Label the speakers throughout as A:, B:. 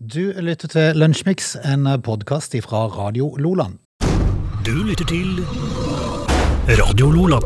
A: Du lytter til Lunsjmix, en podkast fra Radio Loland.
B: Du lytter til Radio Lola.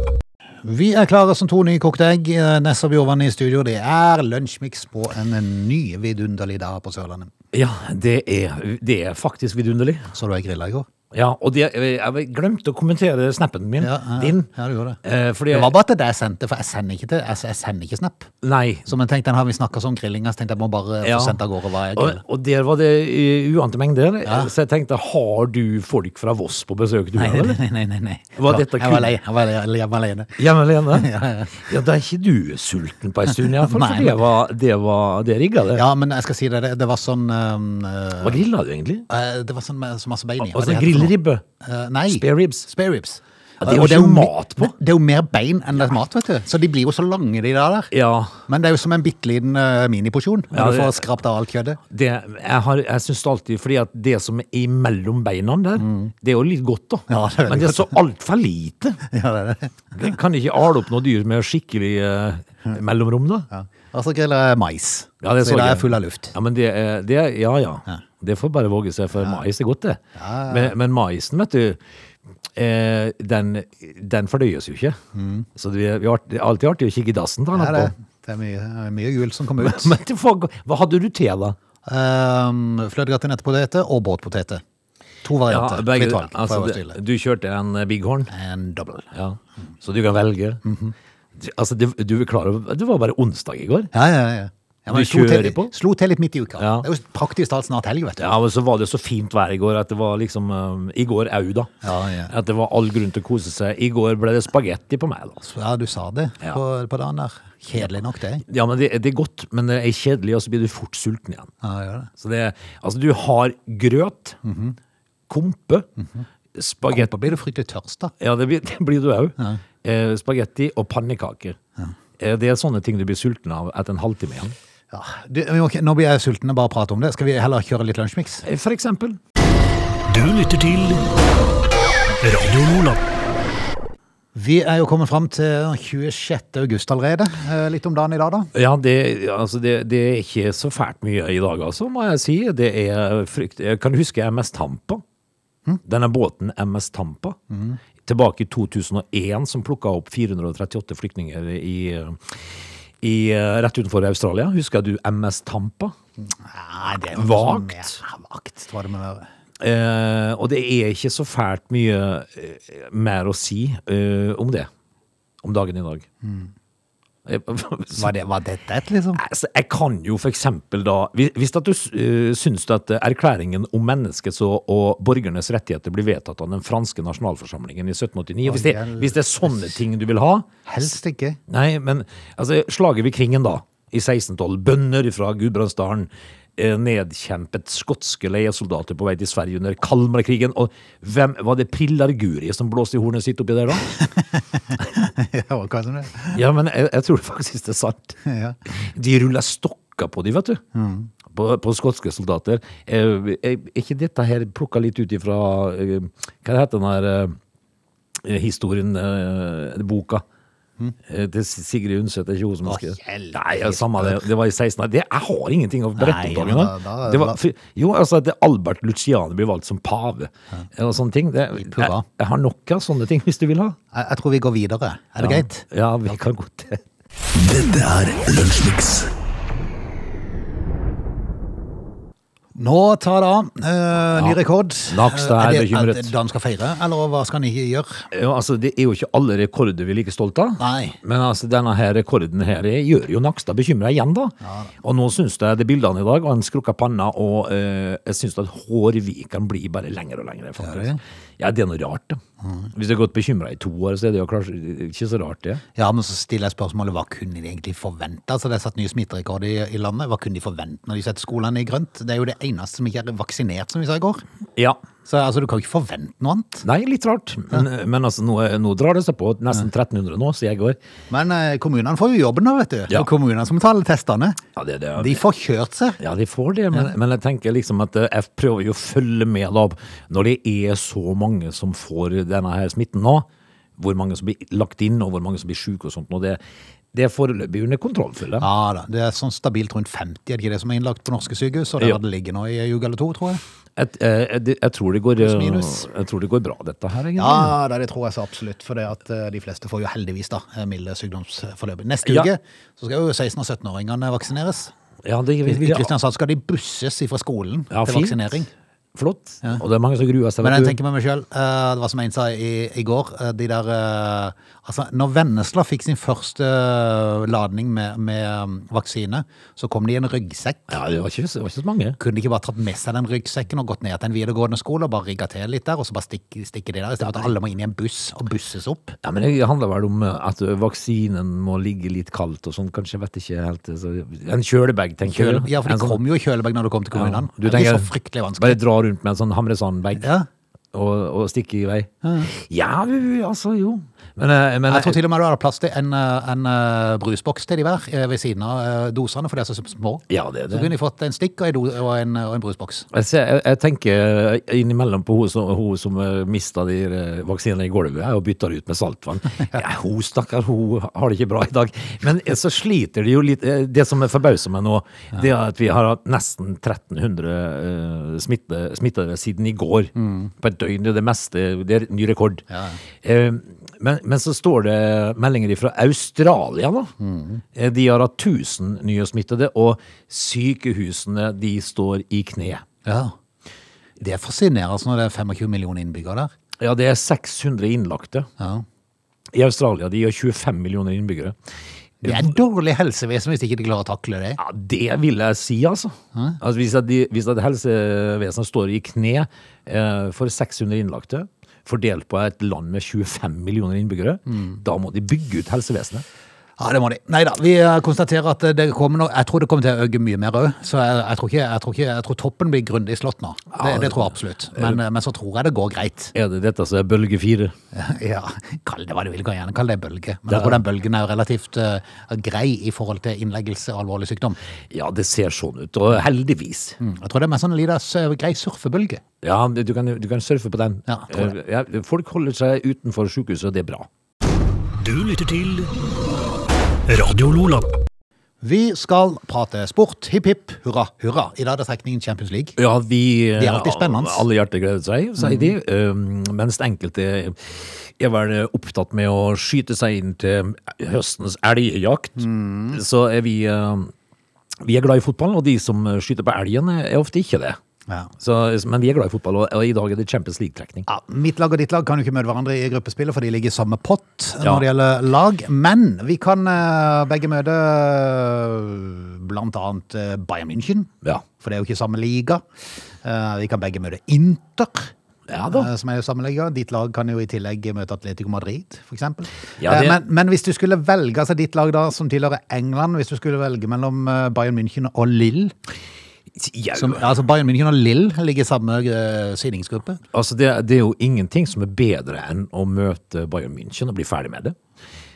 A: Vi er klare som to nykokte egg. eh, Nessa Bjorvann i studio. Det er Lunsjmix på en ny vidunderlig dag på Sørlandet.
C: Ja, det er, det er faktisk vidunderlig.
A: Så du ei grilla i går?
C: Ja, og det, eh, jeg glemte å kommentere snappen min.
A: Ja, ja,
C: din.
A: ja, du gjorde det.
C: Eh, fordi,
A: Det var bare til det jeg sendte, for jeg sender ikke, til, jeg, jeg sender ikke Snap.
C: Nei.
A: Så men tenk, den har vi snakka om grillinga, så tenkte jeg må bare
C: Ja.
A: få sendt av gårde hva jeg
C: Og,
A: griller.
C: og der var det eh, uante mengder. Så jeg tenkte, har du folk fra Voss på besøk? Du,
A: Nei,
C: eller?
A: nei, nei. nei, nei.
C: Var
A: Ja,
C: dette
A: jeg var
C: kun-
A: lei. Jeg var lei- jeg var alene.
C: Hjemme alene?
A: Ja, ja.
C: Ja, da er ikke du sulten på ei stund, iallfall.
A: Nei,
C: For det var, det var Det rigga, det.
A: Ja, men jeg skal si det. Det, det var sånn um, eh,
C: Hva grilla du egentlig?
A: eh, Det var sånn med så masse bein i. Hva
C: Altså
A: det heter for noe?
C: grillribbe?
A: Eh, nei.
C: Spare ribs?
A: Spare ribs.
C: Ja, det er jo
A: Og
C: ikke
A: mi-
C: mat på.
A: Det er jo mer bein enn det er mat, vet du. Så de blir jo så lange, de der. der.
C: Ja.
A: Men det er jo som en bitte liten eh, miniporsjon. Når
C: Ja,
A: du
C: det-
A: får skrapt av alt kjøttet.
C: Det, jeg har- jeg syns alltid Fordi at det som er imellom beina der, det er jo litt godt, da.
A: Mm. Ja, det er veldig
C: Men det er så altfor lite.
A: Ja, det er det.
C: Jeg kan ikke ale opp noe dyr med skikkelig eh, mellomrom, da. Ja,
A: Ja. Og så griller jeg mais.
C: Ja, det
A: så i
C: så
A: dag er
C: jeg.
A: jeg full av luft.
C: men det, er- det er- ja, ja Det får bare våge seg, for mais er godt, det. Men, men maisen, vet du, eh, den, den fordøyes jo ikke. Så det er, vi har- det er alltid artig å kikke i dassen til
A: Mm. Det er,
C: han
A: det.
C: etterpå.
A: Det er mye, mye gul som kommer ut.
C: Men det får gå- hva hadde du til, da?
A: Um, Fløtegratinettepoteter og båtpoteter. To varianter.
C: begge-
A: Fritt valg. fra
C: altså,
A: øverste hylle.
C: det- du kjørte en eh, bighorn,
A: En dobbel.
C: ja. så du kan velge. Du- Altså, det, du, er klar over- det var bare onsdag i går.
A: Ja, ja, ja. ja men
C: Du
A: jeg slo til-
C: kjører på?
A: Slo til litt midt i uka.
C: Ja.
A: Det er jo praktisk talt snart helg, vet du.
C: Ja, men så var det så fint vær i går at det var liksom eh, I går au, da.
A: Ja, ja.
C: At det var all grunn til å kose seg. I går ble det spagetti på meg, da. altså.
A: Ja, du sa det
C: Ja.
A: på, på dagen der. Kjedelig nok, det.
C: Ja, men det, det er godt, men det er kjedelig, og så blir du fort sulten igjen.
A: Ja, gjør det.
C: Så det er Altså, du har grøt, kompe, spagetti
A: Da blir du fryktelig tørst, da.
C: Ja, det blir, det blir du òg. Eh, spagetti og pannekaker. Eh, det er sånne ting du blir sulten av etter en halvtime igjen.
A: Ja. Du, men ok, nå blir jeg sulten av bare å prate om det. Skal vi heller kjøre litt lunsjmix?
C: Eh, For eksempel.
B: Du lytter til Radio Lola.
A: Vi er jo kommet fram til 26. august allerede. Eh, Litt om dagen i dag, da.
C: Ja, det, altså det, det er ikke så fælt mye i dag, altså, må jeg si. Det er frykt... Jeg kan huske MS Tampa. Denne båten MS Tampa. Tilbake i 2001, som plukka opp 438 flyktninger i, i, rett utenfor Australia. Husker du MS Tampa?
A: Nei, det er
C: jo noe
A: Vagt.
C: som-
A: vagt, tror jeg det må være.
C: Eh, og det er ikke så fælt mye eh, mer å si eh, om det, om dagen i dag. Jeg, så,
A: Var det, var det det, liksom?
C: altså, jeg kan jo for eksempel da Hvis, hvis at du uh, syns at erklæringen om menneskets og, og borgernes rettigheter blir vedtatt av den franske nasjonalforsamlingen i 1789 hvis det,
A: Å,
C: hvis det er sånne ting du vil ha
A: Helst ikke.
C: Nei, men altså, slaget ved Kringen da, i 1612, bønder fra Gudbrandsdalen, eh, nedkjempet skotske leiesoldater på vei til Sverige under Kalmarkrigen, og hvem var det Pillarguri som blåste i hornet sitt oppi der da?
A: Ja, hva som det?
C: Ja, men jeg, jeg tror faktisk det er sant.
A: Ja. Mm.
C: De ruller stokker på de, vet du. På, på skotske soldater. Eh, Er ikke dette her plukka litt ut ifra eh, Hva heter den her eh, historien, eh, boka? Eh, Til Sigrid Undset, er ikke hun som
A: Mm. Å,
C: har skrevet
A: hjelp.
C: Nei, ja, samme det. Det var i 16 det, Jeg har ingenting å berette
A: Nei,
C: om dagen.
A: ja,
C: da.
A: da- da-
C: Det var, fy- jo, altså at Albert Luciani blir valgt som pave eh, og sånne ting. Det, jeg,
A: purra.
C: jeg har nok av sånne ting, hvis du vil ha.
A: Jeg, jeg tror vi går videre. Er det
C: Ja.
A: greit?
C: Ja, vi kan godt det.
B: Dette er Lunsjmix.
A: Nå tar det av. Eh, ny
C: Ja.
A: rekord.
C: Nakstad er
A: det-
C: bekymret.
A: det Dan skal feire, eller hva skal han ikke gjøre?
C: Ja, altså, det er jo ikke alle rekorder vi er like stolte av.
A: Nei.
C: Men altså, denne her rekorden her gjør jo Nakstad bekymra igjen, da. og nå syns jeg det bildene i dag, og en skrukka panne, og eh, jeg syns at hårvikene blir bare lengre og lengre. faktisk.
A: Er det? Mm.
C: Ja, det er noe rart, da. Hvis du har gått bekymra i to år, så er det jo klart ikke så rart, det.
A: Ja, men så stiller jeg spørsmålet, hva kunne de egentlig forvente? Altså, det er satt nye smitterekord i, i landet. Hva kunne de forvente når de setter skolene i grønt? Det er jo det eneste som ikke er vaksinert, som vi sa i går.
C: Ja.
A: Så altså, du kan jo ikke forvente noe annet.
C: Nei, litt rart. Men, men altså, nå, nå drar det seg på. Nesten 1300 nå, så jeg går.
A: Men eh, kommunene får jo jobben nå, vet du.
C: Ja.
A: Og kommunene som tar alle testene,
C: Ja, det, det,
A: de får kjørt seg.
C: Ja, de får det, men, men jeg tenker liksom at eh, jeg prøver jo å følge med da, når det er så mange som får denne her smitten nå, hvor mange som blir lagt inn, og hvor mange som blir syke og sånt, og det, Det er foreløpig under kontroll, føler jeg.
A: Ja da, det er sånn stabilt rundt 50, er det ikke det som er innlagt på norske sykehus? Og der
C: Jo.
A: har det ligget nå i en uke eller to, tror jeg.
C: Et- eh, Jeg, jeg, tror det går, eh,
A: minus.
C: jeg tror det går bra, dette her, egentlig.
A: Ja, da, det tror jeg så absolutt, for det at eh, de fleste får jo heldigvis da eh, milde sykdomsforløp. Neste
C: Ja.
A: uke så skal jo 16- og 17-åringene vaksineres.
C: Ja, det,
A: I
C: ja.
A: Kristiansand skal de busses fra skolen
C: Ja,
A: til
C: fint.
A: vaksinering.
C: Flott. Og det er mange som gruer seg.
A: Men
C: vet
A: jeg
C: du.
A: tenker med meg sjøl, det var som en sa i, i går eh, de der, eh, altså, Når Vennesla fikk sin første eh, ladning med, med eh, vaksine, så kom de i en ryggsekk.
C: Ja, det var ikke, det var ikke så mange.
A: Kunne de ikke bare tatt med seg den ryggsekken og gått ned til en videregående skole og bare rigga til litt der, og så bare stikke, stikke de der, istedenfor at alle må inn i en buss og busses opp?
C: Ja, men Det handler vel om eh, at eh, vaksinen må ligge litt kaldt og sånn, kanskje. jeg vet ikke helt. eh, Så en kjølebag, tenker
A: Kjøle,
C: du?
A: ja, for
C: En
A: de
C: sånn-
A: kom jo i kjølebag når du kom til kommunen.
C: Du
A: det er
C: tenker-
A: så fryktelig vanskelig.
C: Bare dra rundt med en sånn hamresandbag
A: Ja.
C: og, og stikke i vei. Ja, jo, jo, altså, jo. Men, eh, men
A: Jeg tror til og med du hadde plass til en, eh, en eh, brusboks til de hver eh, ved siden av eh, dosene, for de er så små.
C: Ja, det er
A: Så
C: det.
A: kunne de fått en stikk og en, do, og en, eh, og en brusboks.
C: Jeg, ser, jeg, jeg tenker eh, innimellom på hun som, hun som mista de eh, vaksinene i gulvet her, og bytta det ut med saltvann. Ja, hun stakkar, hun har det ikke bra i dag. Men eh, så sliter de jo litt. eh, Det som forbauser meg nå, det er at vi har hatt nesten 1300 eh, smitte, smittede siden i går. På et døgn. Det er det meste. Det er ny rekord.
A: Ja.
C: Eh, Men, men så står det meldinger fra Australia, da. Eh, De har hatt 1000 nye smittede, og sykehusene de står i kne.
A: Ja. Det fascinerer oss når det er 25 millioner innbyggere der.
C: Ja, det er 600 innlagte.
A: Ja.
C: I Australia de har 25 millioner innbyggere.
A: Det er dårlig helsevesen hvis ikke de klarer å takle det.
C: Ja, Det vil jeg si, altså. altså hvis, at de, hvis at helsevesenet står i kne eh, for 600 innlagte, fordelt på et land med 25 millioner innbyggere,
A: Mm.
C: da må de bygge ut helsevesenet.
A: Ja, det må de. Nei da, vi eh, konstaterer at eh, det kommer nå Jeg tror det kommer til å øke mye mer òg, så jeg, jeg, tror ikke, jeg, tror ikke, jeg tror toppen blir grundig slått nå. Det, det tror jeg absolutt. Men, eh, men så tror jeg det går greit.
C: Er det dette som er bølge fire?
A: Ja, Kall det hva du vil, kan gjerne kalle det bølge. Men jeg tror den bølgen er jo relativt eh, grei i forhold til innleggelse og alvorlig sykdom.
C: Ja, det ser sånn ut, og heldigvis.
A: Mm, Jeg tror det er mer sånn en liten s- grei surfebølge.
C: Ja, du kan, du kan surfe på den.
A: Ja, tror
C: Eh, ja, folk holder seg utenfor sykehuset, og det er bra.
B: Du lytter til Radio Lola.
A: Vi skal prate sport. Hipp hipp hurra hurra. I dag er det trekningen Champions League.
C: Ja, vi,
A: Det er alltid spennende.
C: Alle hjerter gleder seg, sier de. Um, mens enkelte er vel opptatt med å skyte seg inn til høstens elgjakt,
A: Mm.
C: så er vi um, vi er glad i fotball, og de som skyter på elgen, eh, er ofte ikke det.
A: Ja.
C: Så, men vi er glad i fotball, og, og i dag er det Champions League-trekning.
A: Ja, mitt lag og ditt lag kan jo ikke møte hverandre i gruppespillet, for de ligger i samme pott
C: Ja.
A: når det gjelder lag. Men vi kan eh, begge møte eh, blant annet eh, Bayern München,
C: Ja.
A: for det er jo ikke samme liga. Eh, vi kan begge møte Inter.
C: Ja da.
A: eh, Som er jo samme liga. Ditt lag kan jo i tillegg møte Atletico Madrid, f.eks.
C: Ja, det-
A: men, men hvis du skulle velge altså ditt lag da, som tilhører England, hvis du skulle velge mellom eh, Bayern München og Lill
C: Ja,
A: som, Altså Bayern München og Lill ligger i samme eh, sidningsgruppe.
C: altså det, det er jo ingenting som er bedre enn å møte Bayern München og bli ferdig med det.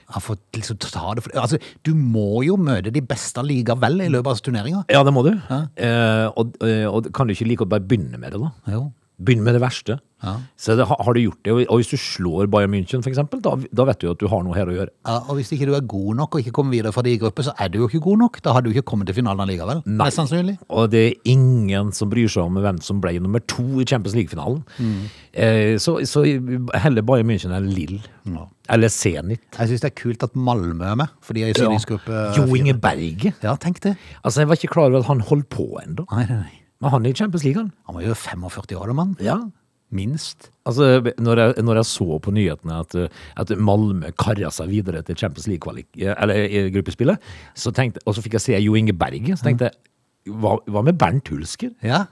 A: Ja, for liksom ta det for, altså, Du må jo møte de beste likevel i løpet av turneringa.
C: Ja, det må du. Eh, og, eh, og kan du ikke like å bare begynne med det, da?
A: Jo.
C: Begynn med det verste. Så det, har har du gjort det, og- og hvis du slår Bayern München for eksempel, da, da vet du jo at du har noe her å gjøre.
A: Ja, og hvis ikke du er god nok og ikke kommer videre fra de grupper, så er du jo ikke god nok. Da har du ikke kommet til finalen likevel.
C: Nei.
A: Mest sannsynlig.
C: Og det er ingen som bryr seg om hvem som ble nummer to i Champions League-finalen. Eh, så, så heller Bayern München enn Lill.
A: Ja.
C: Eller Zenit.
A: Jeg syns det er kult at Malmö er med, for de er i syningsgruppe
C: Ja. Jo Inge Berge.
A: Ja, tenk det.
C: Altså, jeg var ikke klar over at han holdt på ennå.
A: Nei, nei, nei.
C: Men han er i Champions League, han.
A: Han var jo 45 år, da, mann.
C: Ja.
A: Minst.
C: Altså, når jeg, når jeg så på nyhetene at, eh, at Malmö karra seg videre til Champions League-kvalik, eh, eller eh, gruppespillet, så tenkte, og så fikk jeg se Jo Inge Berge, så tenkte jeg, hva, hva med Bernt Hulsker?
A: Ja.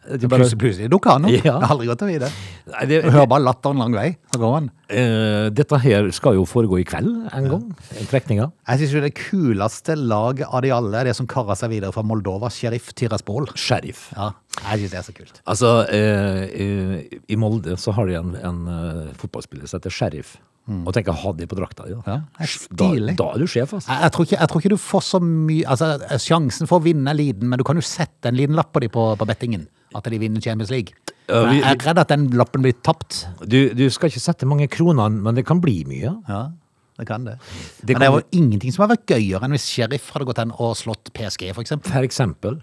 C: Det bare-
A: Plutselig, plutselig dukker han opp.
C: Ja.
A: Det har aldri gått å vite.
C: Nei, det,
A: Du hører bare latteren lang vei, så går han.
C: eh, dette her skal jo foregå i kveld en gang, trekninga.
A: Jeg syns det kuleste laget av de alle er det som karer seg videre fra Moldova, Sheriff Tiraspol.
C: Sheriff.
A: Ja, jeg syns det er så kult.
C: Altså, eh, eh, i Molde så har de en, en eh, fotballspiller som heter Sheriff. Og tenk å ha det på drakta di.
A: Mm. Ja,
C: da.
A: det er
C: Da,
A: stilig.
C: da er du sjef, altså.
A: Jeg, jeg, tror ikke, jeg tror ikke du får så mye altså, Sjansen for å vinne er liten, men du kan jo sette en liten lapp på dem på, på bettingen. At de vinner Champions League.
C: Ja,
A: Men
C: vi-
A: jeg er redd at den lappen blir tapt.
C: Du, du skal ikke sette mange kroner, men det kan bli mye.
A: Ja. det kan det.
C: Det
A: Men det
C: kan
A: er jo ingenting som har vært gøyere enn hvis Sheriff hadde gått hen og slått PSG, for eksempel.
C: For eksempel.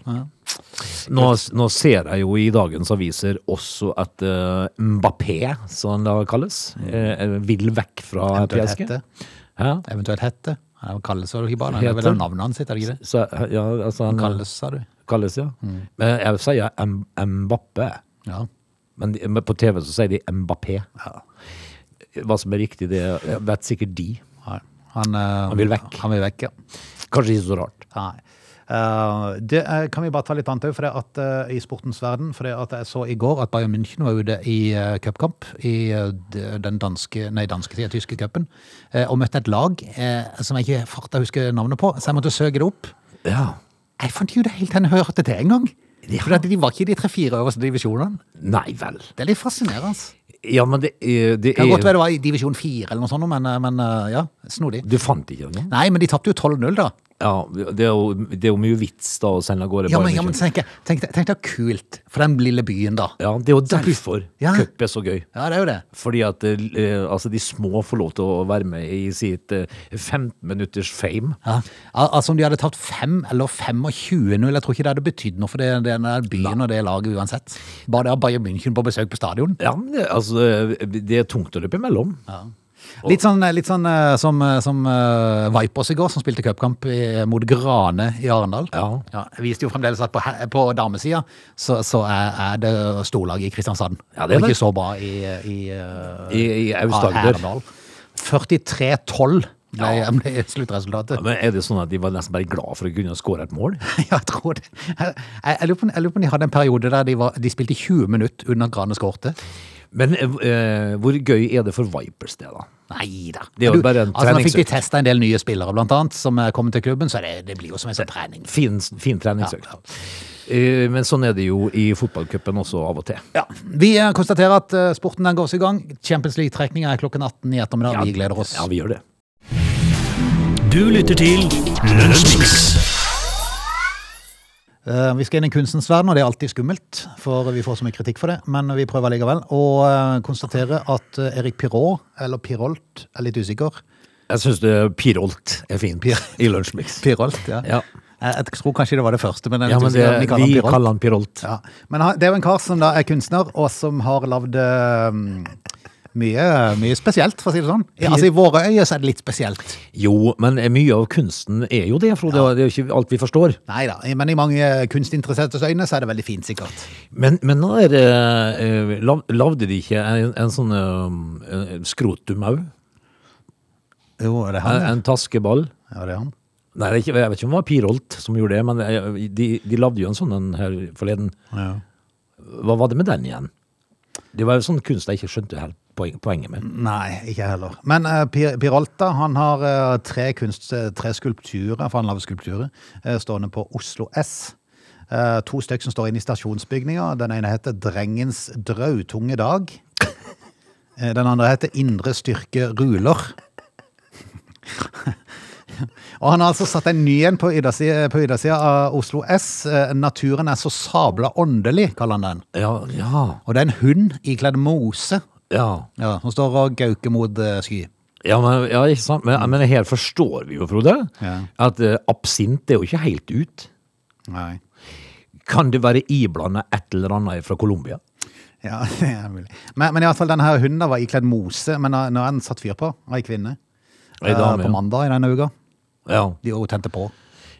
C: Nå, nå ser jeg jo i dagens aviser også at eh, Mbappé, som det kalles, eh, vil vekk fra
A: Eventuelt
C: PSG.
A: hette.
C: Ja,
A: Eventuelt hette. Han kalles vel ikke bare det, det er vel
C: Heter?
A: navnet hans, er det ikke det?
C: så, ja, altså han
A: Kalles, Mm. sa du?
C: kalles, ja. Men jeg sier M Mbappé,
A: Ja.
C: men, de- men på TV så sier de Mbappé. Hva som er riktig, det vet sikkert de.
A: Nei. Han, eh,
C: vil vekk.
A: Han vil vekk, ja.
C: Kanskje ikke så rart.
A: Nei. Eh, det eh, kan vi bare ta litt annet òg, for det at eh, i sportens verden. For det at jeg så i går at Bayern München var ute i eh, cupkamp i eh, d- den danske, nei, danske siden, tyske cupen, eh, og møtte et lag eh, som jeg ikke farta husker navnet på, så jeg måtte søke det opp.
C: Ja.
A: Jeg fant jo det helt til jeg hørte det en gang. For at de var ikke i de tre-fire øverste divisjonene.
C: Nei vel.
A: Det er litt fascinerende. Det
C: Ja, men det, er- det
A: kan godt
C: er
A: være det var i divisjon fire eller noe sånt, men, eh, men eh, ja, snodig.
C: Du fant ikke noe?
A: Nei, men de tapte jo 12-0, da.
C: Ja, det er, jo, det er jo mye vits da å sende av gårde.
A: Ja,
C: Bayern
A: men, ja, men
C: München.
A: tenk, tenk, deg- tenk deg kult for den lille byen, da.
C: ja, det er jo derfor
A: Ja.
C: cup er så gøy.
A: Ja, det er jo det.
C: Fordi at eh, altså, de små får lov til å være med i sitt eh, 15 minutters fame.
A: Ja. Al- Altså om de hadde tapt 5 eller 25-0, jeg tror ikke det hadde betydd noe for det, den der byen og det laget uansett. Bare det å ha Bayern München på besøk på stadion.
C: Ja, men det, altså, eh, det er tungt å løpe imellom.
A: Litt sånn, litt sånn eh, som, eh, som eh, Vipers i går, som spilte cupkamp i- eh, mot Grane i Arendal.
C: Ja.
A: jeg viste jo fremdeles at på, he- på damesida så, så er, er det storlag i Kristiansand.
C: Ja, det er
A: og
C: det.
A: ikke så bra i, i, eh,
C: I, i Aust-Agder.
A: Arendal. 43-12 ble, ble sluttresultatet.
C: Ja, men er det sånn at de var nesten bare glad for å kunne skåre et mål?
A: Ja, jeg tror det. Jeg, jeg, jeg, lurer på, jeg lurer på om de hadde en periode der de, var, de spilte 20 minutter under Grane skårte.
C: Men eh, eh, hvor gøy er det for Vipers det, da?
A: Nei da.
C: Det er jo bare en
A: altså, nå fikk de
C: treningsøkt.
A: testa en del nye spillere, blant annet, som eh, kommer til klubben, så det, det blir jo som en sånn trening.
C: Fin, fin treningsøkt. Eh, men sånn er det jo i fotballcupen også av og til.
A: Ja, Vi eh, konstaterer at eh, sporten den går i gang. Champions League-trekninga er klokken 18 i ettermiddag. Vi gleder oss.
C: Ja, vi gjør det.
B: Du lytter til Lunsjmix.
A: Eh, Vi skal inn i kunstens verden, og det er alltid skummelt, for vi får så mye kritikk for det. Men vi prøver likevel å eh, konstatere at eh, Erik Pirot, eller Pirolt, er litt usikker.
C: Jeg syns Pirolt er fint i Lunsjmix.
A: Pirolt, ja. Eh,
C: Ja.
A: Jeg, jeg tror kanskje det var det første, men, jeg er
C: Ja,
A: litt
C: men det,
A: usikker. Vi kaller han
C: vi
A: Pirolt.
C: kaller han Pirolt.
A: Ja. Men han- det er jo en kar som da er kunstner, og som har lagd ehm, mye, mye spesielt, for å si det sånn. I, altså, I våre øyne så er det litt spesielt.
C: Jo, men mye av kunsten er jo det, Frode. Det er jo ikke alt vi forstår.
A: Nei da, men i mange kunstinteressertes øyne så er det veldig fint, sikkert.
C: Men, men nå er det eh, lav- Lagde de ikke en, en sånn eh, eh, skrotum òg?
A: Jo, er det
C: En,
A: han? Ja,
C: en taskeball?
A: ja det er han.
C: Nei, det er ikke, jeg vet ikke om det var Pirolt som gjorde det, men eh, de, de lagde jo en sånn en her forleden.
A: Ja.
C: Hva var det med den igjen? Det var jo sånn kunst jeg ikke skjønte helt poen- poenget med.
A: Nei, ikke jeg heller. Men eh, Pir Pirolta han har eh, tre, kunst, eh, tre skulpturer, for han lager skulpturer, eh, stående på Oslo S. Eh, to stykker som står inne i stasjonsbygninga. Den ene heter 'Drengens drautunge dag'. Eh, Den andre heter 'Indre styrke ruler'. Og han har altså satt en ny en på yttersida på yttersida av Oslo S. Eh, 'Naturen er så sabla åndelig', kaller han den.
C: Ja, ja,
A: Og det er en hund ikledd mose
C: ja.
A: ja, som står og gauker mot eh, sky.
C: Ja, men, ja, ikke sant? Men, men her forstår vi jo, Frode,
A: Mm. Ja.
C: at eh, absint er jo ikke helt ut.
A: Nei.
C: Kan det være iblanda et eller annet fra Colombia?
A: Ja, det er mulig. Men, men i alle fall, denne her hunden var ikledd mose, men når når den satt fyr på, var ei kvinne.
C: Ei
A: eh,
C: dame,
A: på
C: ja.
A: mandag i denne uka.
C: Ja.
A: De jo tente på.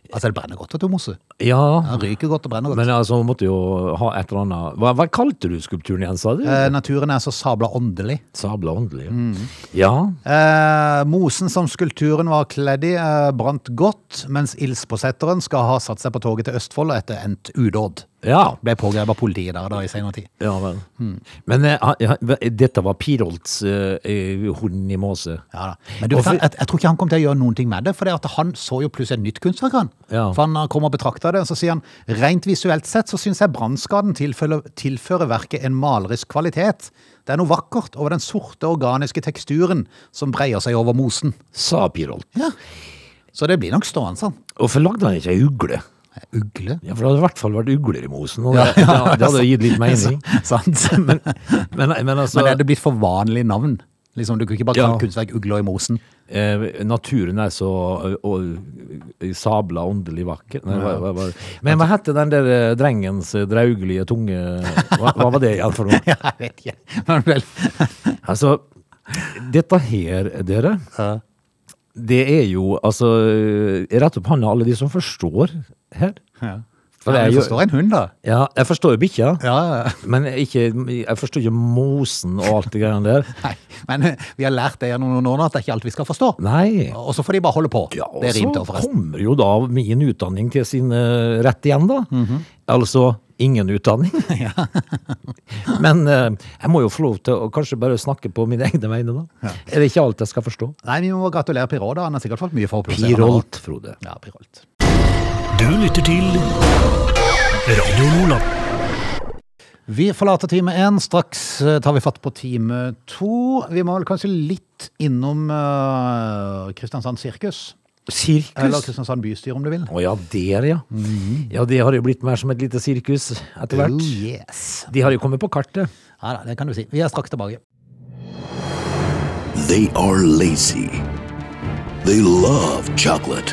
A: Altså, det brenner godt, vet du, mose.
C: ja.
A: Den ryker godt og brenner godt.
C: Men altså, hun måtte jo ha et eller annet Hva, hva kalte du skulpturen igjen, sa du?
A: Eh, naturen er så sabla åndelig.
C: Sabla åndelig.
A: mm.
C: Ja.
A: Eh, mosen som skulpturen var kledd i, eh, brant godt, mens ildspåsetteren skal ha satt seg på toget til Østfold etter endt udåd.
C: Ja.
A: Ble pågrepet av politiet der da i senere tid.
C: ja vel.
A: Mm.
C: Men eh, ha- ha- dette var Pirolts eh, eh, hund i måse.
A: Ja, da. Men du,
C: Og
A: vet,
C: for-
A: jeg, jeg tror ikke han kom til å gjøre noen ting med det, for det at han så jo plutselig et nytt kunstverk. Han.
C: Ja.
A: For han kom og betrakta det, og så sier han rent visuelt sett så syns jeg brannskaden tilfører, tilfører verket en malerisk kvalitet. Det er noe vakkert over den sorte, organiske teksturen som breier seg over mosen.
C: Sa Pirolt.
A: Ja. Så det blir nok stående sånn.
C: Hvorfor lagde han ikke ei ugle?
A: Ugle.
C: Ja, For det hadde i hvert fall vært ugler i mosen. Og
A: Ja,
C: det, det, det hadde jo gitt litt mening.
A: Sant. Men,
C: Men, men altså
A: men er det blitt for vanlig navn? Liksom, du kan ikke bare
C: Ja.
A: kalle kunstverk ugler i mosen.
C: Eh, naturen er så ø, ø, sabla åndelig vakker. Nei, hva, hva, hva. Men hva hette den der eh, drengens eh, draugelige tunge Hva, hva var det igjen for noe?
A: jeg vet ikke. Men vel.
C: Altså, dette her, dere, det er jo altså eh, Rett opp hånda alle de som forstår her.
A: Ja. Men
C: For det er
A: du
C: jo-
A: forstår en hund, da.
C: Ja, jeg forstår jo bikkja,
A: Ja, ja, ja.
C: men ikke, jeg forstår ikke mosen og alt det greiene der.
A: Nei, men eh, vi har lært det gjennom noen år at det er ikke alt vi skal forstå.
C: Nei.
A: Og så får de bare holde på.
C: Ja, og
A: det rimte jo
C: så
A: forresten.
C: kommer jo da min utdanning til sin eh, rett igjen, da.
A: Mhm.
C: Altså ingen utdanning. Men eh, jeg må jo få lov til å kanskje bare snakke på mine egne vegne, da. Er det ikke alt jeg skal forstå?
A: Nei, vi må gratulere Pirot, da. Han har sikkert fått mye for å plassere han
C: Pirolt, Frode.
A: nå. Ja, Pirolt.
B: Du lytter til Radio Nordland.
A: Vi forlater time én. Straks eh, tar vi fatt på time to. Vi må vel kanskje litt innom eh, Kristiansand sirkus. Eller
C: Sirkus?
A: Kristiansand bystyre, om du vil.
C: Å ja, der, ja.
A: Mhm.
C: Ja, det har jo blitt mer som et lite sirkus etter
A: Oh,
C: hvert.
A: yes.
C: De har jo kommet på kartet.
A: Ja da, det kan du si. Vi er straks tilbake.
D: They are lazy. They love chocolate.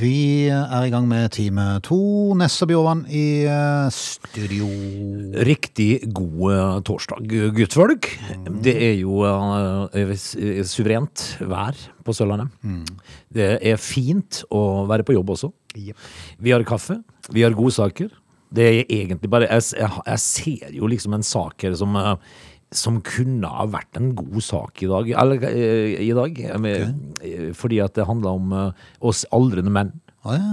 A: Vi er i gang med time to. Nesse Bjørvann i eh, studio.
C: Riktig god eh, torsdag, guttfolk. Det er jo eh, s- eh, suverent vær på Sørlandet. Det er fint å være på jobb også. Vi har kaffe, vi har godsaker. Det er egentlig bare Jeg, s- jeg, ha- jeg ser jo liksom en sak her som eh, som kunne ha vært en god sak i dag. Eller, eh, i dag eh, med, eh, Fordi at det handla om eh, oss aldrende menn.
A: Å ja.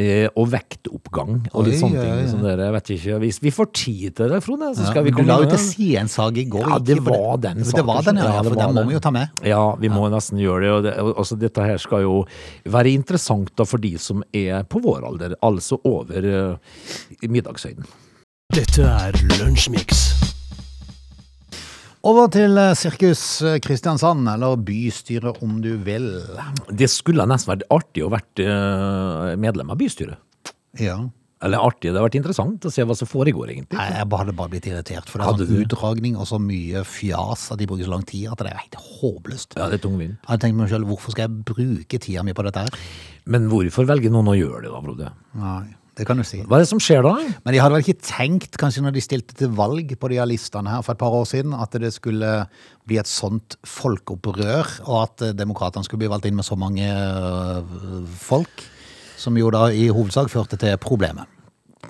C: Eh, og vektoppgang og litt
A: Oi,
C: sånne
A: oi,
C: ting.
A: oi.
C: Som dere, jeg vet ikke, hvis vi får tid til det, Frode, så skal
A: Ja,
C: vi
A: men du la
C: komme
A: jo til
C: det.
A: side en sag i går.
C: Ja,
A: ikke
C: det
A: på
C: var den
A: Men Det
C: saken,
A: var den, ja.
C: ja, det
A: for
C: var
A: den må
C: det.
A: vi jo ta med.
C: Ja, vi må nesten gjøre det. Og det, og- også dette her skal jo være interessant da, for de som er på vår alder, altså over eh, middagshøyden.
B: Dette er Lunsjmix.
A: Over til eh, Sirkus eh, Kristiansand, eller bystyret om du vil.
C: Det skulle nesten vært artig å vært eh, medlem av bystyret.
A: Ja.
C: Eller artig, det har vært interessant å se hva som foregår, egentlig.
A: Nei, jeg bare- hadde bare blitt irritert, for det
C: Hadde
A: er sånn
C: du?
A: utdragning og så mye fjas at de bruker så lang tid at det er helt håpløst.
C: Ja, det er tungvint.
A: Jeg hadde tenkt meg selv, hvorfor skal jeg bruke tida mi på dette her?
C: Men hvorfor velger noen å gjøre det, da, Frode?
A: Nei, det kan du si.
C: Hva er det som skjer da?
A: Men de hadde vel ikke tenkt, kanskje når de stilte til valg på de her listene her for et par år siden, at det skulle bli et sånt folkeopprør, og at eh, demokratene skulle bli valgt inn med så mange øh, folk, som jo da i hovedsak førte til problemet.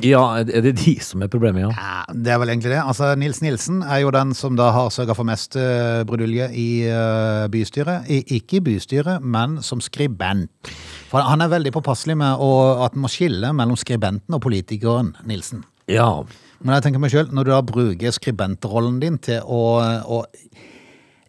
C: Ja, er det de som er problemet, ja?
A: Ja, det er vel egentlig det. Altså, Nils Nilsen er jo den som da har sørget for mest eh, brudulje i eh, bystyret. I, ikke i bystyret, men som skribent. For han er veldig påpasselig med å, at man må skille mellom skribenten og politikeren, Nilsen.
C: Ja.
A: Men jeg tenker meg selv, når du da bruker skribentrollen din til å, å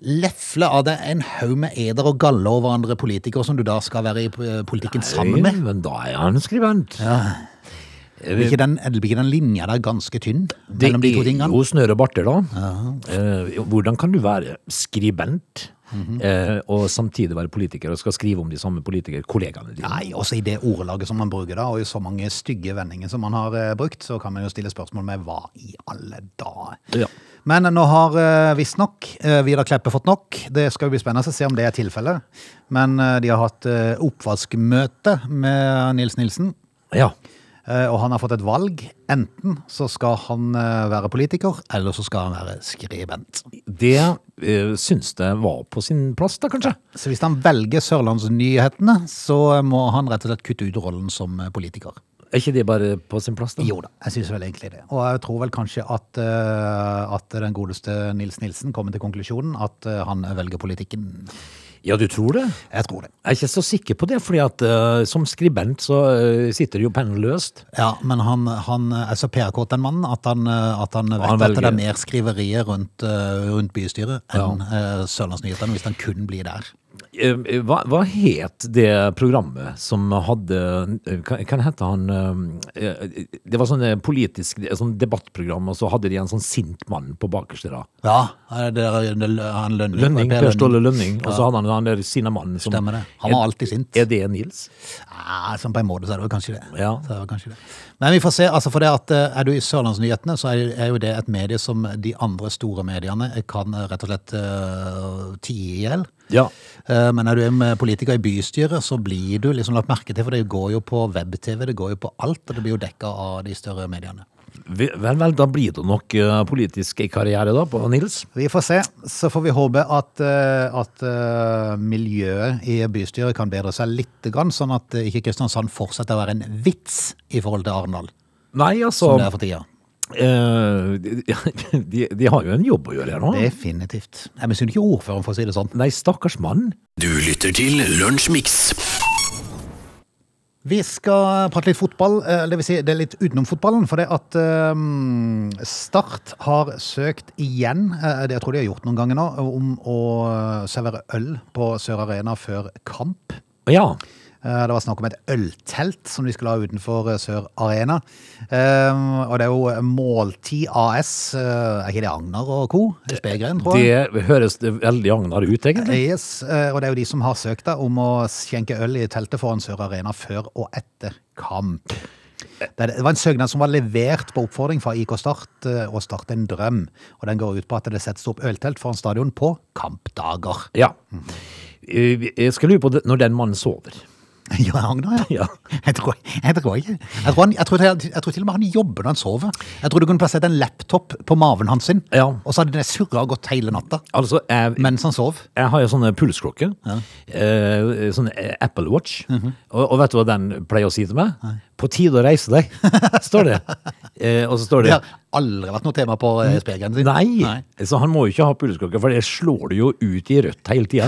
A: lefle av deg en haug med eder og galle over andre politikere som du da skal være i eh, politikken sammen med,
C: Nei, Men da er han skribent.
A: blir ikke den, blir ikke den linja der ganske tynn
C: Det
A: mellom de to
C: er
A: tingene?
C: jo snøre barter, da. Eh, hvordan kan du være skribent
A: Mhm.
C: eh, og samtidig være politiker og skal skrive om de samme politikerkollegaene dine?
A: Nei, også i det ordlaget som man bruker da, og i så mange stygge vendinger som man har eh, brukt, så kan man jo stille spørsmål med hva i alle dager.
C: Ja.
A: Men nå har eh, visstnok eh, Vidar Kleppe fått nok. Det skal jo bli spennende å se om det er tilfellet. Men eh, de har hatt eh, oppvaskmøte med eh, Nils Nilsen.
C: ja.
A: Eh, Og han har fått et valg. Enten så skal han eh, være politiker, eller så skal han være skribent.
C: Det eh, syns jeg var på sin plass, da, kanskje.
A: Så hvis han velger Sørlandsnyhetene, så eh, må han rett og slett kutte ut rollen som eh, politiker.
C: Er ikke det bare på sin plass, da?
A: Jo da, jeg syns vel egentlig det. Og jeg tror vel kanskje at, eh, at den godeste Nils Nilsen kommer til konklusjonen at eh, han velger politikken.
C: Ja, du tror det?
A: Jeg tror det.
C: Jeg er ikke så sikker på det, fordi at eh, som skribent så eh, sitter det jo pennen løst.
A: Ja, men han, han er så PR-kåt den mannen at han, eh, at han vet
C: han
A: at det
C: velger-
A: er mer skriverier rundt, eh, rundt bystyret enn eh, Sørlandsnyhetene, hvis han kun blir der.
C: Eh, Hva, hva het det programmet som hadde eh, Kan, kan det hete han eh, eh, Det var sånn eh, politisk eh, sånn debattprogram, og så hadde de en sånn sint mann på bakerste rad.
A: Ja, det er, han Lønning.
C: Lønning,
A: Per
C: Per Ståle
A: Lønning.
C: Lønning. Og så hadde han han der sinna mannen som
A: Stemmer det. Han var alltid sint.
C: Er det Nils?
A: Ja, sånn på en måte så er det vel kanskje det.
C: Ja.
A: Så er det vel kanskje det. Men vi får se, altså for det at eh, er du i Sørlandsnyhetene, så er er jo det et medie som de andre store mediene kan eh, rett og slett eh, tie i hjel.
C: Ja.
A: Eh, Men er du en eh, politiker i bystyret, så blir du liksom lagt merke til, for det går jo på web-TV, det går jo på alt, og det blir jo dekka av de større mediene.
C: Vel, vel, da blir det nok eh, politisk karriere da på Nils.
A: Vi får se. Så får vi håpe at, eh, at eh, miljøet i bystyret kan bedre seg litt, grann, sånn at eh, ikke Kristiansand fortsetter å være en vits i forhold til Arendal,
C: Nei, altså
A: som det er for tida.
C: eh, de, de, de har jo en jobb å gjøre her nå.
A: Definitivt. Jeg misunner ikke ordføreren, for å si det sånn.
C: Nei, stakkars mann.
B: Du lytter til Lunsjmix.
A: Vi skal prate litt fotball, eh, det vil si det er litt utenom fotballen, for det at eh, Start har søkt igjen, eh, det jeg tror de har gjort noen ganger nå, om å eh, servere øl på Sør Arena før kamp.
C: Ja.
A: Eh, Det var snakk om et øltelt som de skulle ha utenfor eh, Sør Arena. Eh, Og det er jo Måltid AS, eh, er ikke det Agner og co.? Spegren, tror jeg.
C: Det høres veldig agnar ut, egentlig.
A: Yes, eh, og det er jo de som har søkt da, om å skjenke øl i teltet foran Sør Arena før og etter kamp. Det er- det var en søknad som var levert på oppfordring fra IK Start eh, og Start en drøm. Og den går ut på at det settes opp øltelt foran stadion på kampdager.
C: Ja. Eh, Jeg skal lure på det, når den mannen sover.
A: Ja, Agner,
C: Ja.
A: Jeg tror, jeg tror ikke. Jeg tror, han, jeg, tror, til- jeg tror til og med han jobber når han sover. Jeg tror du kunne plassert en laptop på maven hans sin,
C: Ja.
A: og så hadde det surra og gått hele natta
C: Altså, jeg,
A: mens han sov.
C: jeg har jo sånne pulsklokker. Eh, sånn eh, Apple Watch. og, og vet du hva den pleier å si til meg? På tide å reise deg, står det. Eh, og så står det
A: Det har aldri vært noe tema på eh, spegelen sin.
C: Nei. Så han må jo ikke ha pulsklokke, for det slår du jo ut i rødt hele tida.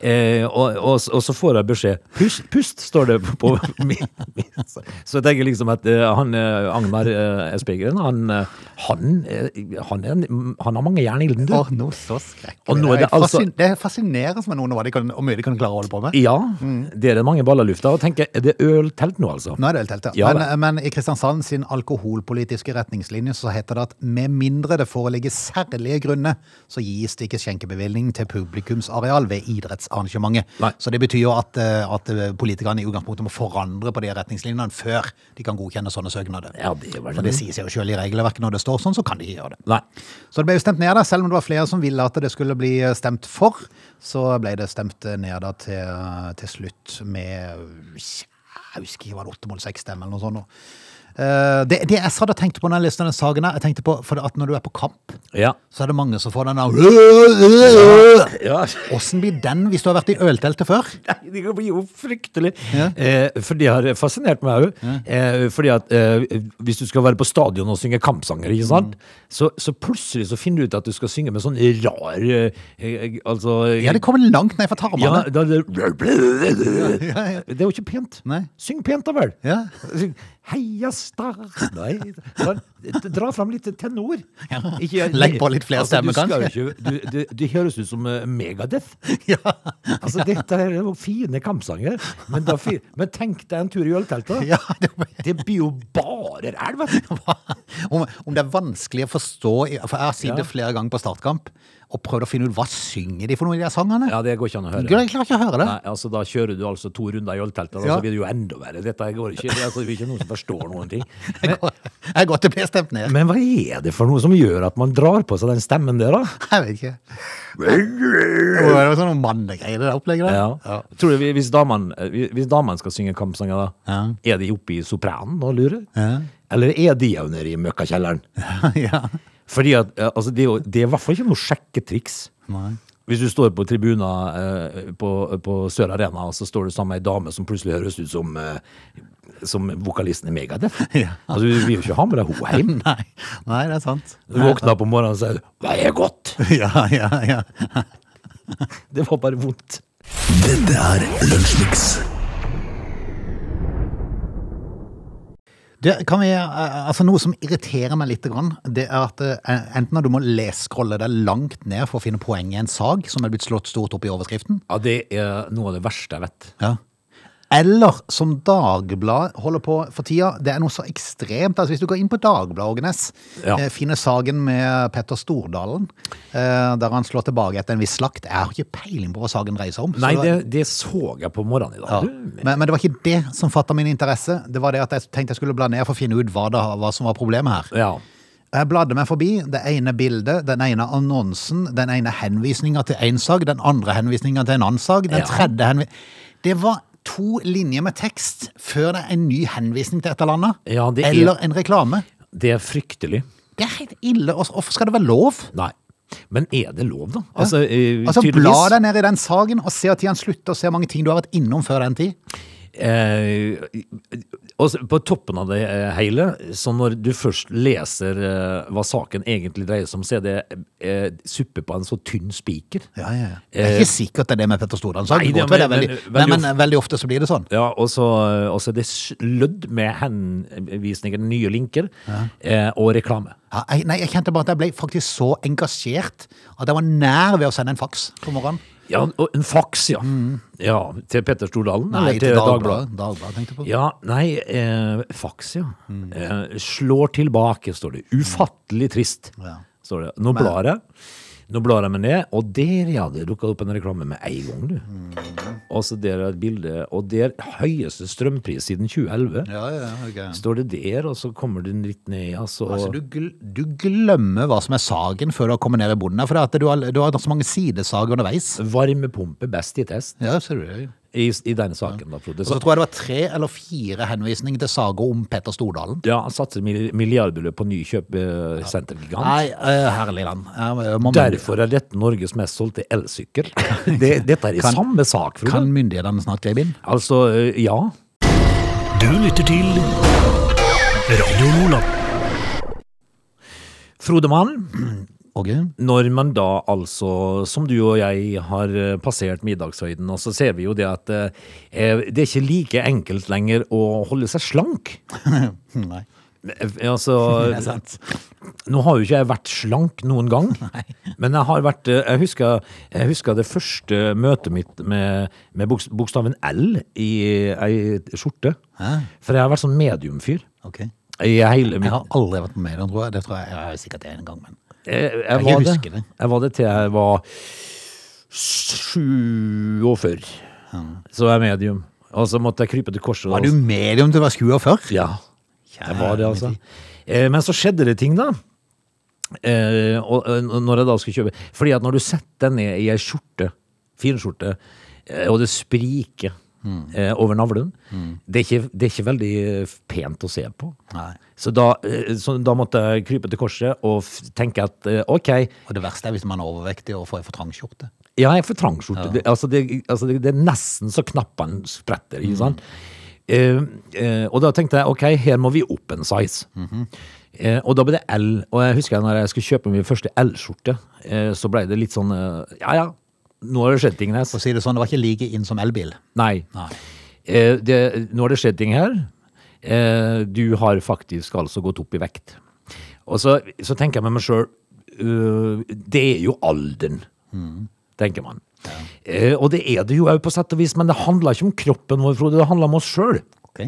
C: eh, og, og, og så får jeg beskjed Pust, pust, står det på- på min. min- Så jeg tenker liksom at eh, han eh, Agnar eh, Espegren, han, eh, han, eh, han, er en- han har mange jern i ilden, du.
A: Åh, noe så skrekkelig.
C: Og nå er det
A: Det er
C: altså-
A: fascin- det er fascinerende med noen av hva de kan, hvor mye de kan klare å holde på med.
C: Ja, det er det mange baller i lufta. Og tenker, er det øltelt nå, altså?
A: Nå er det øltelt, ja.
C: Ja,
A: Men, men i Kristiansand sin alkoholpolitiske retningslinje så heter det at med mindre det foreligger særlige grunner, så gis det ikke skjenkebevilgning til publikumsareal ved idrettsarrangementet.
C: Nei.
A: Så det betyr jo at, eh, at politikerne i utgangspunktet må forandre på de retningslinjene før de kan godkjenne sånne søknader.
C: Ja, det er vel
A: For det sier seg jo selv i regelverket når det står sånn, så kan de ikke gjøre det.
C: Nei.
A: Så det ble jo stemt ned, da, selv om det var flere som ville at det skulle bli eh, stemt for. Så ble det stemt eh, ned da til, eh, til slutt med Jeg husker ikke, var det 8,6 stemmer eller noe sånt? nå. Eh, Det, det jeg satt og tenkte på når jeg leste denne saken, her, jeg tenkte på, for at når du er på kamp,
C: Ja.
A: så er det mange som får den der
C: ja.
A: Åssen blir den hvis du har vært i ølteltet før?
C: Nei, det blir jo fryktelig.
A: Ja.
C: Eh, for det har fascinert meg òg. Eh, fordi at eh, hvis du skal være på stadion og synge kampsanger, ikke sant?
A: Mm.
C: Så, så plutselig så finner du ut at du skal synge med sånn rar eh, eh, Altså
A: Ja, det kommer langt ned fra tarmene.
C: ja, da, det,
A: Ja, ja.
C: det er jo ikke pent.
A: Nei.
C: Syng pent, da vel.
A: Ja.
C: Syng, Heia Start Nei, dra, dra fram litt tenor. Ikke- Altså,
A: Legg på litt flere stemmer,
C: du skal
A: kanskje.
C: jo Ikke, du, du, du høres ut som eh, Megadeth.
A: Ja.
C: Altså, dette er jo fine kampsanger, men, da, fi- men tenk deg en tur i ølteltet.
A: Ja, det blir-
C: det blir jo bare ræl, vet du.
A: om, om det er vanskelig å forstå For jeg har sittet flere ganger på startkamp og prøvd å finne ut hva synger de for noe i de her sangene.
C: Ja, det går ikke an å høre.
A: Gud, jeg klarer ikke å høre det.
C: Nei, altså, da kjører du altså to runder i ølteltet, da,
A: Ja.
C: så blir det jo enda verre. Dette går ikke. Det er altså ikke noen som forstår noen ting.
A: Jeg går- Jeg er godt det blir stemt ned.
C: Men hva er det for noe som gjør at man drar på seg den stemmen der, da?
A: Jeg vet ikke. Det var jo sånn mannegreier, det der opplegget der.
C: Ja. Tror du, vi- hvis damene eh, hvis damene skal synge kampsanger, da, er de oppe i sopranen og lurer?
A: Ja.
C: Eller er de jo nede i møkkakjelleren?
A: ja.
C: Fordi at, eh, altså, det, er jo- det er i hvert fall ikke noe sjekketriks.
A: Nei.
C: Hvis du står på tribuna eh, på, på Sør Arena, og så står du sammen med ei dame som plutselig høres ut som, eh, som vokalisten i Megadeth.
A: Ja.
C: Altså, du vil jo ikke ha med deg henne hjem.
A: Nei. Nei, det er sant.
C: Du våkner opp om morgenen og sier 'Hva er godt?'
A: Ja, ja, ja.
C: Det var bare vondt.
D: Dette er Lunsjmix.
A: Det kan vi, eh, altså Noe som irriterer meg litt, grann, det er at eh, enten at du må lesscrolle deg langt ned for å finne poeng i en sag som er blitt slått stort opp i overskriften,
C: Ja, det er noe av det verste jeg vet.
A: Ja. Eller som Dagbladet holder på for tida. Det er noe så ekstremt. Altså, hvis du går inn på Dagbladet, Ågenes,
C: Ja.
A: eh, finner saken med Petter Stordalen, eh, der han slår tilbake etter en viss slakt. Jeg har ikke peiling på hva saken dreier seg om. så
C: Nei,
A: var-
C: det, det så jeg på morgenen i
A: ja.
C: dag. Du,
A: men, men det var ikke det som fatta min interesse. Det var det at jeg tenkte jeg skulle bla ned for å finne ut hva, det, hva som var problemet her.
C: ja.
A: Jeg bladde meg forbi det ene bildet, den ene annonsen, den ene henvisninga til én sak, den andre henvisninga til en annen sak, den
C: Ja.
A: tredje henvi... Det var to linjer med tekst før det er en ny henvisning til et eller annet.
C: Ja, det er-
A: Eller en reklame.
C: Det er fryktelig.
A: Det er helt ille. Og hvorfor skal det være lov?
C: Nei. Men er det lov, da? Altså, eh,
A: Altså, Bla
C: tydeligvis.
A: deg ned i den saken og se at tida slutter, og se hvor mange ting du har vært innom før den tid.
C: Eh, og så på toppen av det eh, hele, så når du først leser eh, hva saken egentlig dreier seg om, så er det eh, suppe på en så tynn spiker.
A: Ja, ja, ja. Det er ikke sikkert det er det med Petter Stordalen.
C: Eh, Nei,
A: saken
C: det-
A: går til, det er
C: men-
A: veldig-
C: men-
A: Men men veldig ofte så blir det sånn.
C: Ja, og så, eh, og så er det slødd med henvisninger, nye linker eh, og reklame.
A: Ja, jeg, nei, jeg kjente bare at jeg ble faktisk så engasjert at jeg var nær ved å sende en faks på morgenen.
C: Ja, og en faks, ja. ja til Petter Stordalen eller til Dagbladet.
A: Dagbladet tenkte jeg på.
C: Ja, nei, eh, faks, ja. Eh, slår tilbake, står det. Ufattelig trist,
A: Ja.
C: står det. Nå blar jeg. Nå blar jeg meg ned, og der, ja, det dukka opp en reklame med en gang, du. Og så der er et bilde, og der høyeste strømpris siden 2011.
A: Ja, ja, ok.
C: Står det der, og så kommer den litt ned, altså.
A: Altså, du, gl- du glemmer hva som er saken før du har kommet ned ved bonden her, for det at du har, du har hatt så mange sidesager underveis.
C: Varmepumpe best i test
A: Ja, ser du det. jo.
C: i, i denne saken. da, Frode.
A: Og så
C: Så,
A: tror jeg det var tre eller fire henvisninger til sager om Petter Stordalen.
C: ja, han satser mil- milliardbeløp på ny kjøpesentergigant.
A: Nei, uh, herlig land. Jeg må-
C: Derfor er dette Norges mest solgte elsykkel. Det, dette er i
A: Kan-
C: samme sak, Frode.
A: Kan myndighetene snart gripe inn?
C: Altså, eh, ja.
B: Du lytter til Radio Nordland.
C: Frode Mann,
A: Åge?
C: når man da altså, som du og jeg, har eh, passert middagshøyden, og så ser vi jo det at eh, eh, det er ikke like enkelt lenger å holde seg slank.
A: Nei.
C: Eh, Altså,
A: Det er sant.
C: Nå har jo ikke jeg vært slank noen gang, men jeg har vært eh, Jeg husker, jeg husker det første møtet mitt med, med boks- bokstaven L i ei skjorte.
A: Hæ?
C: For jeg har vært sånn mediumfyr.
A: Ok.
C: I hele
A: Jeg
C: mitt
A: har aldri vært på mediene, tror jeg. Det tror jeg, jeg har sikkert en gang, men...
C: jeg, jeg,
A: ikke
C: var
A: husker
C: det.
A: det.
C: jeg var det til jeg var 47. Så jeg er medium. Og så måtte jeg krype til korset.
A: Var
C: og-
A: du medium til å være skua før?
C: Ja, jeg var det altså. Eh, Men så skjedde det ting da. Eh, og, og når jeg da skulle kjøpe Fordi at når du setter deg ned i ei skjorte, finskjorte, eh, og det spriker
A: Mm.
C: eh, over navlen det, er ikke, det er ikke veldig eh, pent å se på.
A: Nei.
C: Så da, eh, så da måtte jeg krype til korset og f- tenke at eh, OK,
A: Og det verste er hvis man er overvektig og får en for trang skjorte.
C: ja, jeg er for trangskjorte. Det, altså det, altså det, det er nesten så knappene spretter. Ikke sant? Eh, eh, og da tenkte jeg ok, her må vi opp en size. Eh, og da ble det L. Og jeg husker når jeg skulle kjøpe min første L-skjorte, eh, så ble det litt sånn eh, Ja ja, nå har det skjedd ting, Nes.
A: For å si det sånn, det var ikke like inn som elbil.
C: Nei.
A: Nei.
C: Eh, det, nå har det skjedd ting her. Eh, du har faktisk altså gått opp i vekt. Og så, så tenker jeg med meg sjøl Det er jo alderen, tenker man. Eh, og det er det jo òg, på sett og vis, men det handler ikke om kroppen vår, Frode. Det handler om oss sjøl.
A: Ok.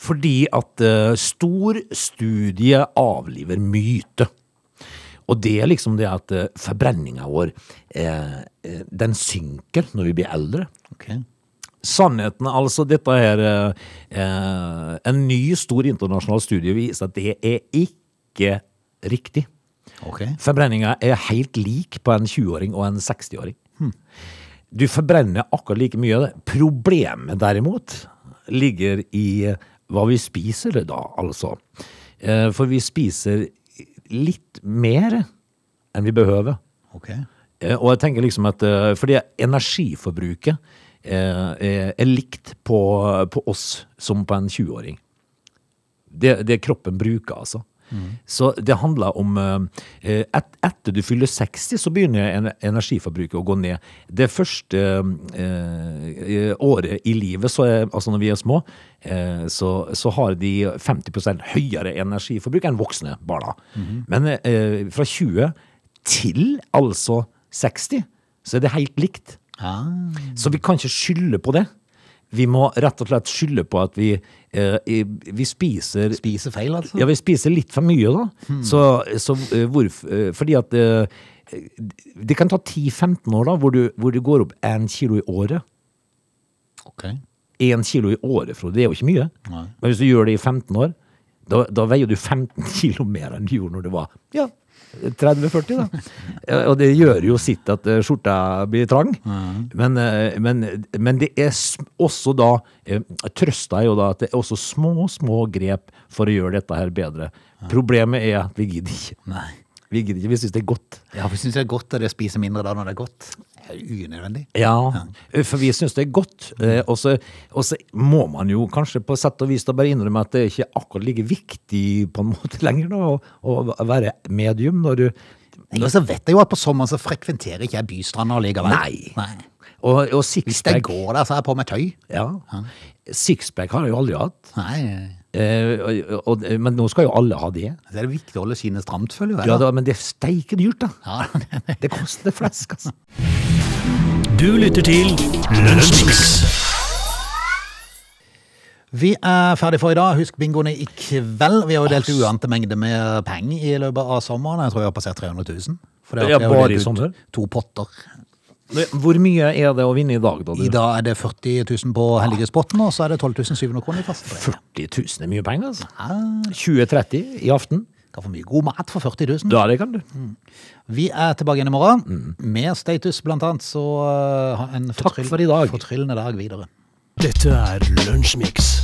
C: Fordi at eh, stor studie avliver myte. Og det er liksom det at uh, forbrenninga vår, eh, eh, den synker når vi blir eldre.
A: ok.
C: Sannheten, altså dette her eh, eh, En ny stor internasjonal studie viser at det er ikke riktig.
A: Ok.
C: Forbrenninga er helt lik på en 20-åring og en 60-åring. Du forbrenner akkurat like mye av det. Problemet derimot ligger i hva vi spiser da, altså. Eh, For vi spiser litt mer enn vi behøver.
A: Ok.
C: Eh, Og jeg tenker liksom at eh, Fordi energiforbruket eh, er, er likt på, på oss som på en 20-åring. Det, det kroppen bruker, altså. Så det handler om eh, et, Etter du fyller 60, så begynner en- energiforbruket å gå ned. Det første eh, eh, året i livet, så er, altså når vi er små, eh, så, så har de 50 høyere energiforbruk enn voksne barna. Men eh, fra 20 til altså 60, så er det helt likt. Så vi kan ikke skylde på det. Vi må rett og slett skylde på at vi, eh, i- vi spiser
A: Spise feil, altså?
C: Ja, vi spiser litt for mye, da. Så, så eh, hvorf- eh, Fordi at eh, det kan ta 10-15 år, da, hvor du, hvor du går opp én kilo i året.
A: Ok.
C: Én kilo i året, Frode, det er jo ikke mye.
A: Nei.
C: Men hvis du gjør det i 15 år, da, da veier du 15 kilo mer enn du gjorde når du var ja, 30-40, da. Eh, Og det gjør jo sitt at eh, skjorta blir trang. Men, eh, men, men det er s- også da eh, Trøsta er jo da at det er også små, små grep for å gjøre dette her bedre. Problemet er at vi gidder ikke.
A: Nei.
C: Vi gidder ikke, vi syns det er godt.
A: Ja, vi syns det er godt at jeg spiser mindre da når det er godt. Det er Unødvendig.
C: Ja, eh, for vi syns det er godt. eh, Og så, og så må man jo kanskje på sett og vis da bare innrømme at det er ikke akkurat like viktig på en måte lenger da, å, å være medium når du
A: Og så vet jeg jo at på sommeren så frekventerer ikke jeg bystranda allikevel.
C: Nei. Og, og
A: Hvis jeg
C: sixpack
A: går der, så har jeg på meg tøy.
C: ja. Sixpack har jeg jo aldri hatt.
A: Nei,
C: eh, og, og, men nå skal jo alle ha det.
A: så er det viktig å holde sine stramt, føler jeg.
C: Ja,
A: da.
C: da, men det er steike dyrt, da.
A: Ja,
C: Det koster flesk, altså.
B: Du lytter til Lunsjmix.
A: Vi er ferdig for i dag. Husk bingoene i kveld. Vi har jo delt uante mengder med penger i løpet av sommeren. Jeg tror vi har passert 300 000. For
C: Ja,
A: vi har
C: bare
A: delt
C: i
A: ut
C: sommer?
A: To potter.
C: Hvor mye er det å vinne i dag, da?
A: I
C: Du?
A: dag er det 40 000 på Helligespotten, og så er det 12 700 kroner i fastbrev.
C: 40 000 er mye penger, altså. 20-30 i aften.
A: Kan få mye god mat for 40 000.
C: Da det kan du.
A: Vi er tilbake igjen i morgen. Mer status, blant annet. Så uh, ha en
C: Takk for i dag.
A: fortryllende dag videre.
B: Dette er Lunsjmix.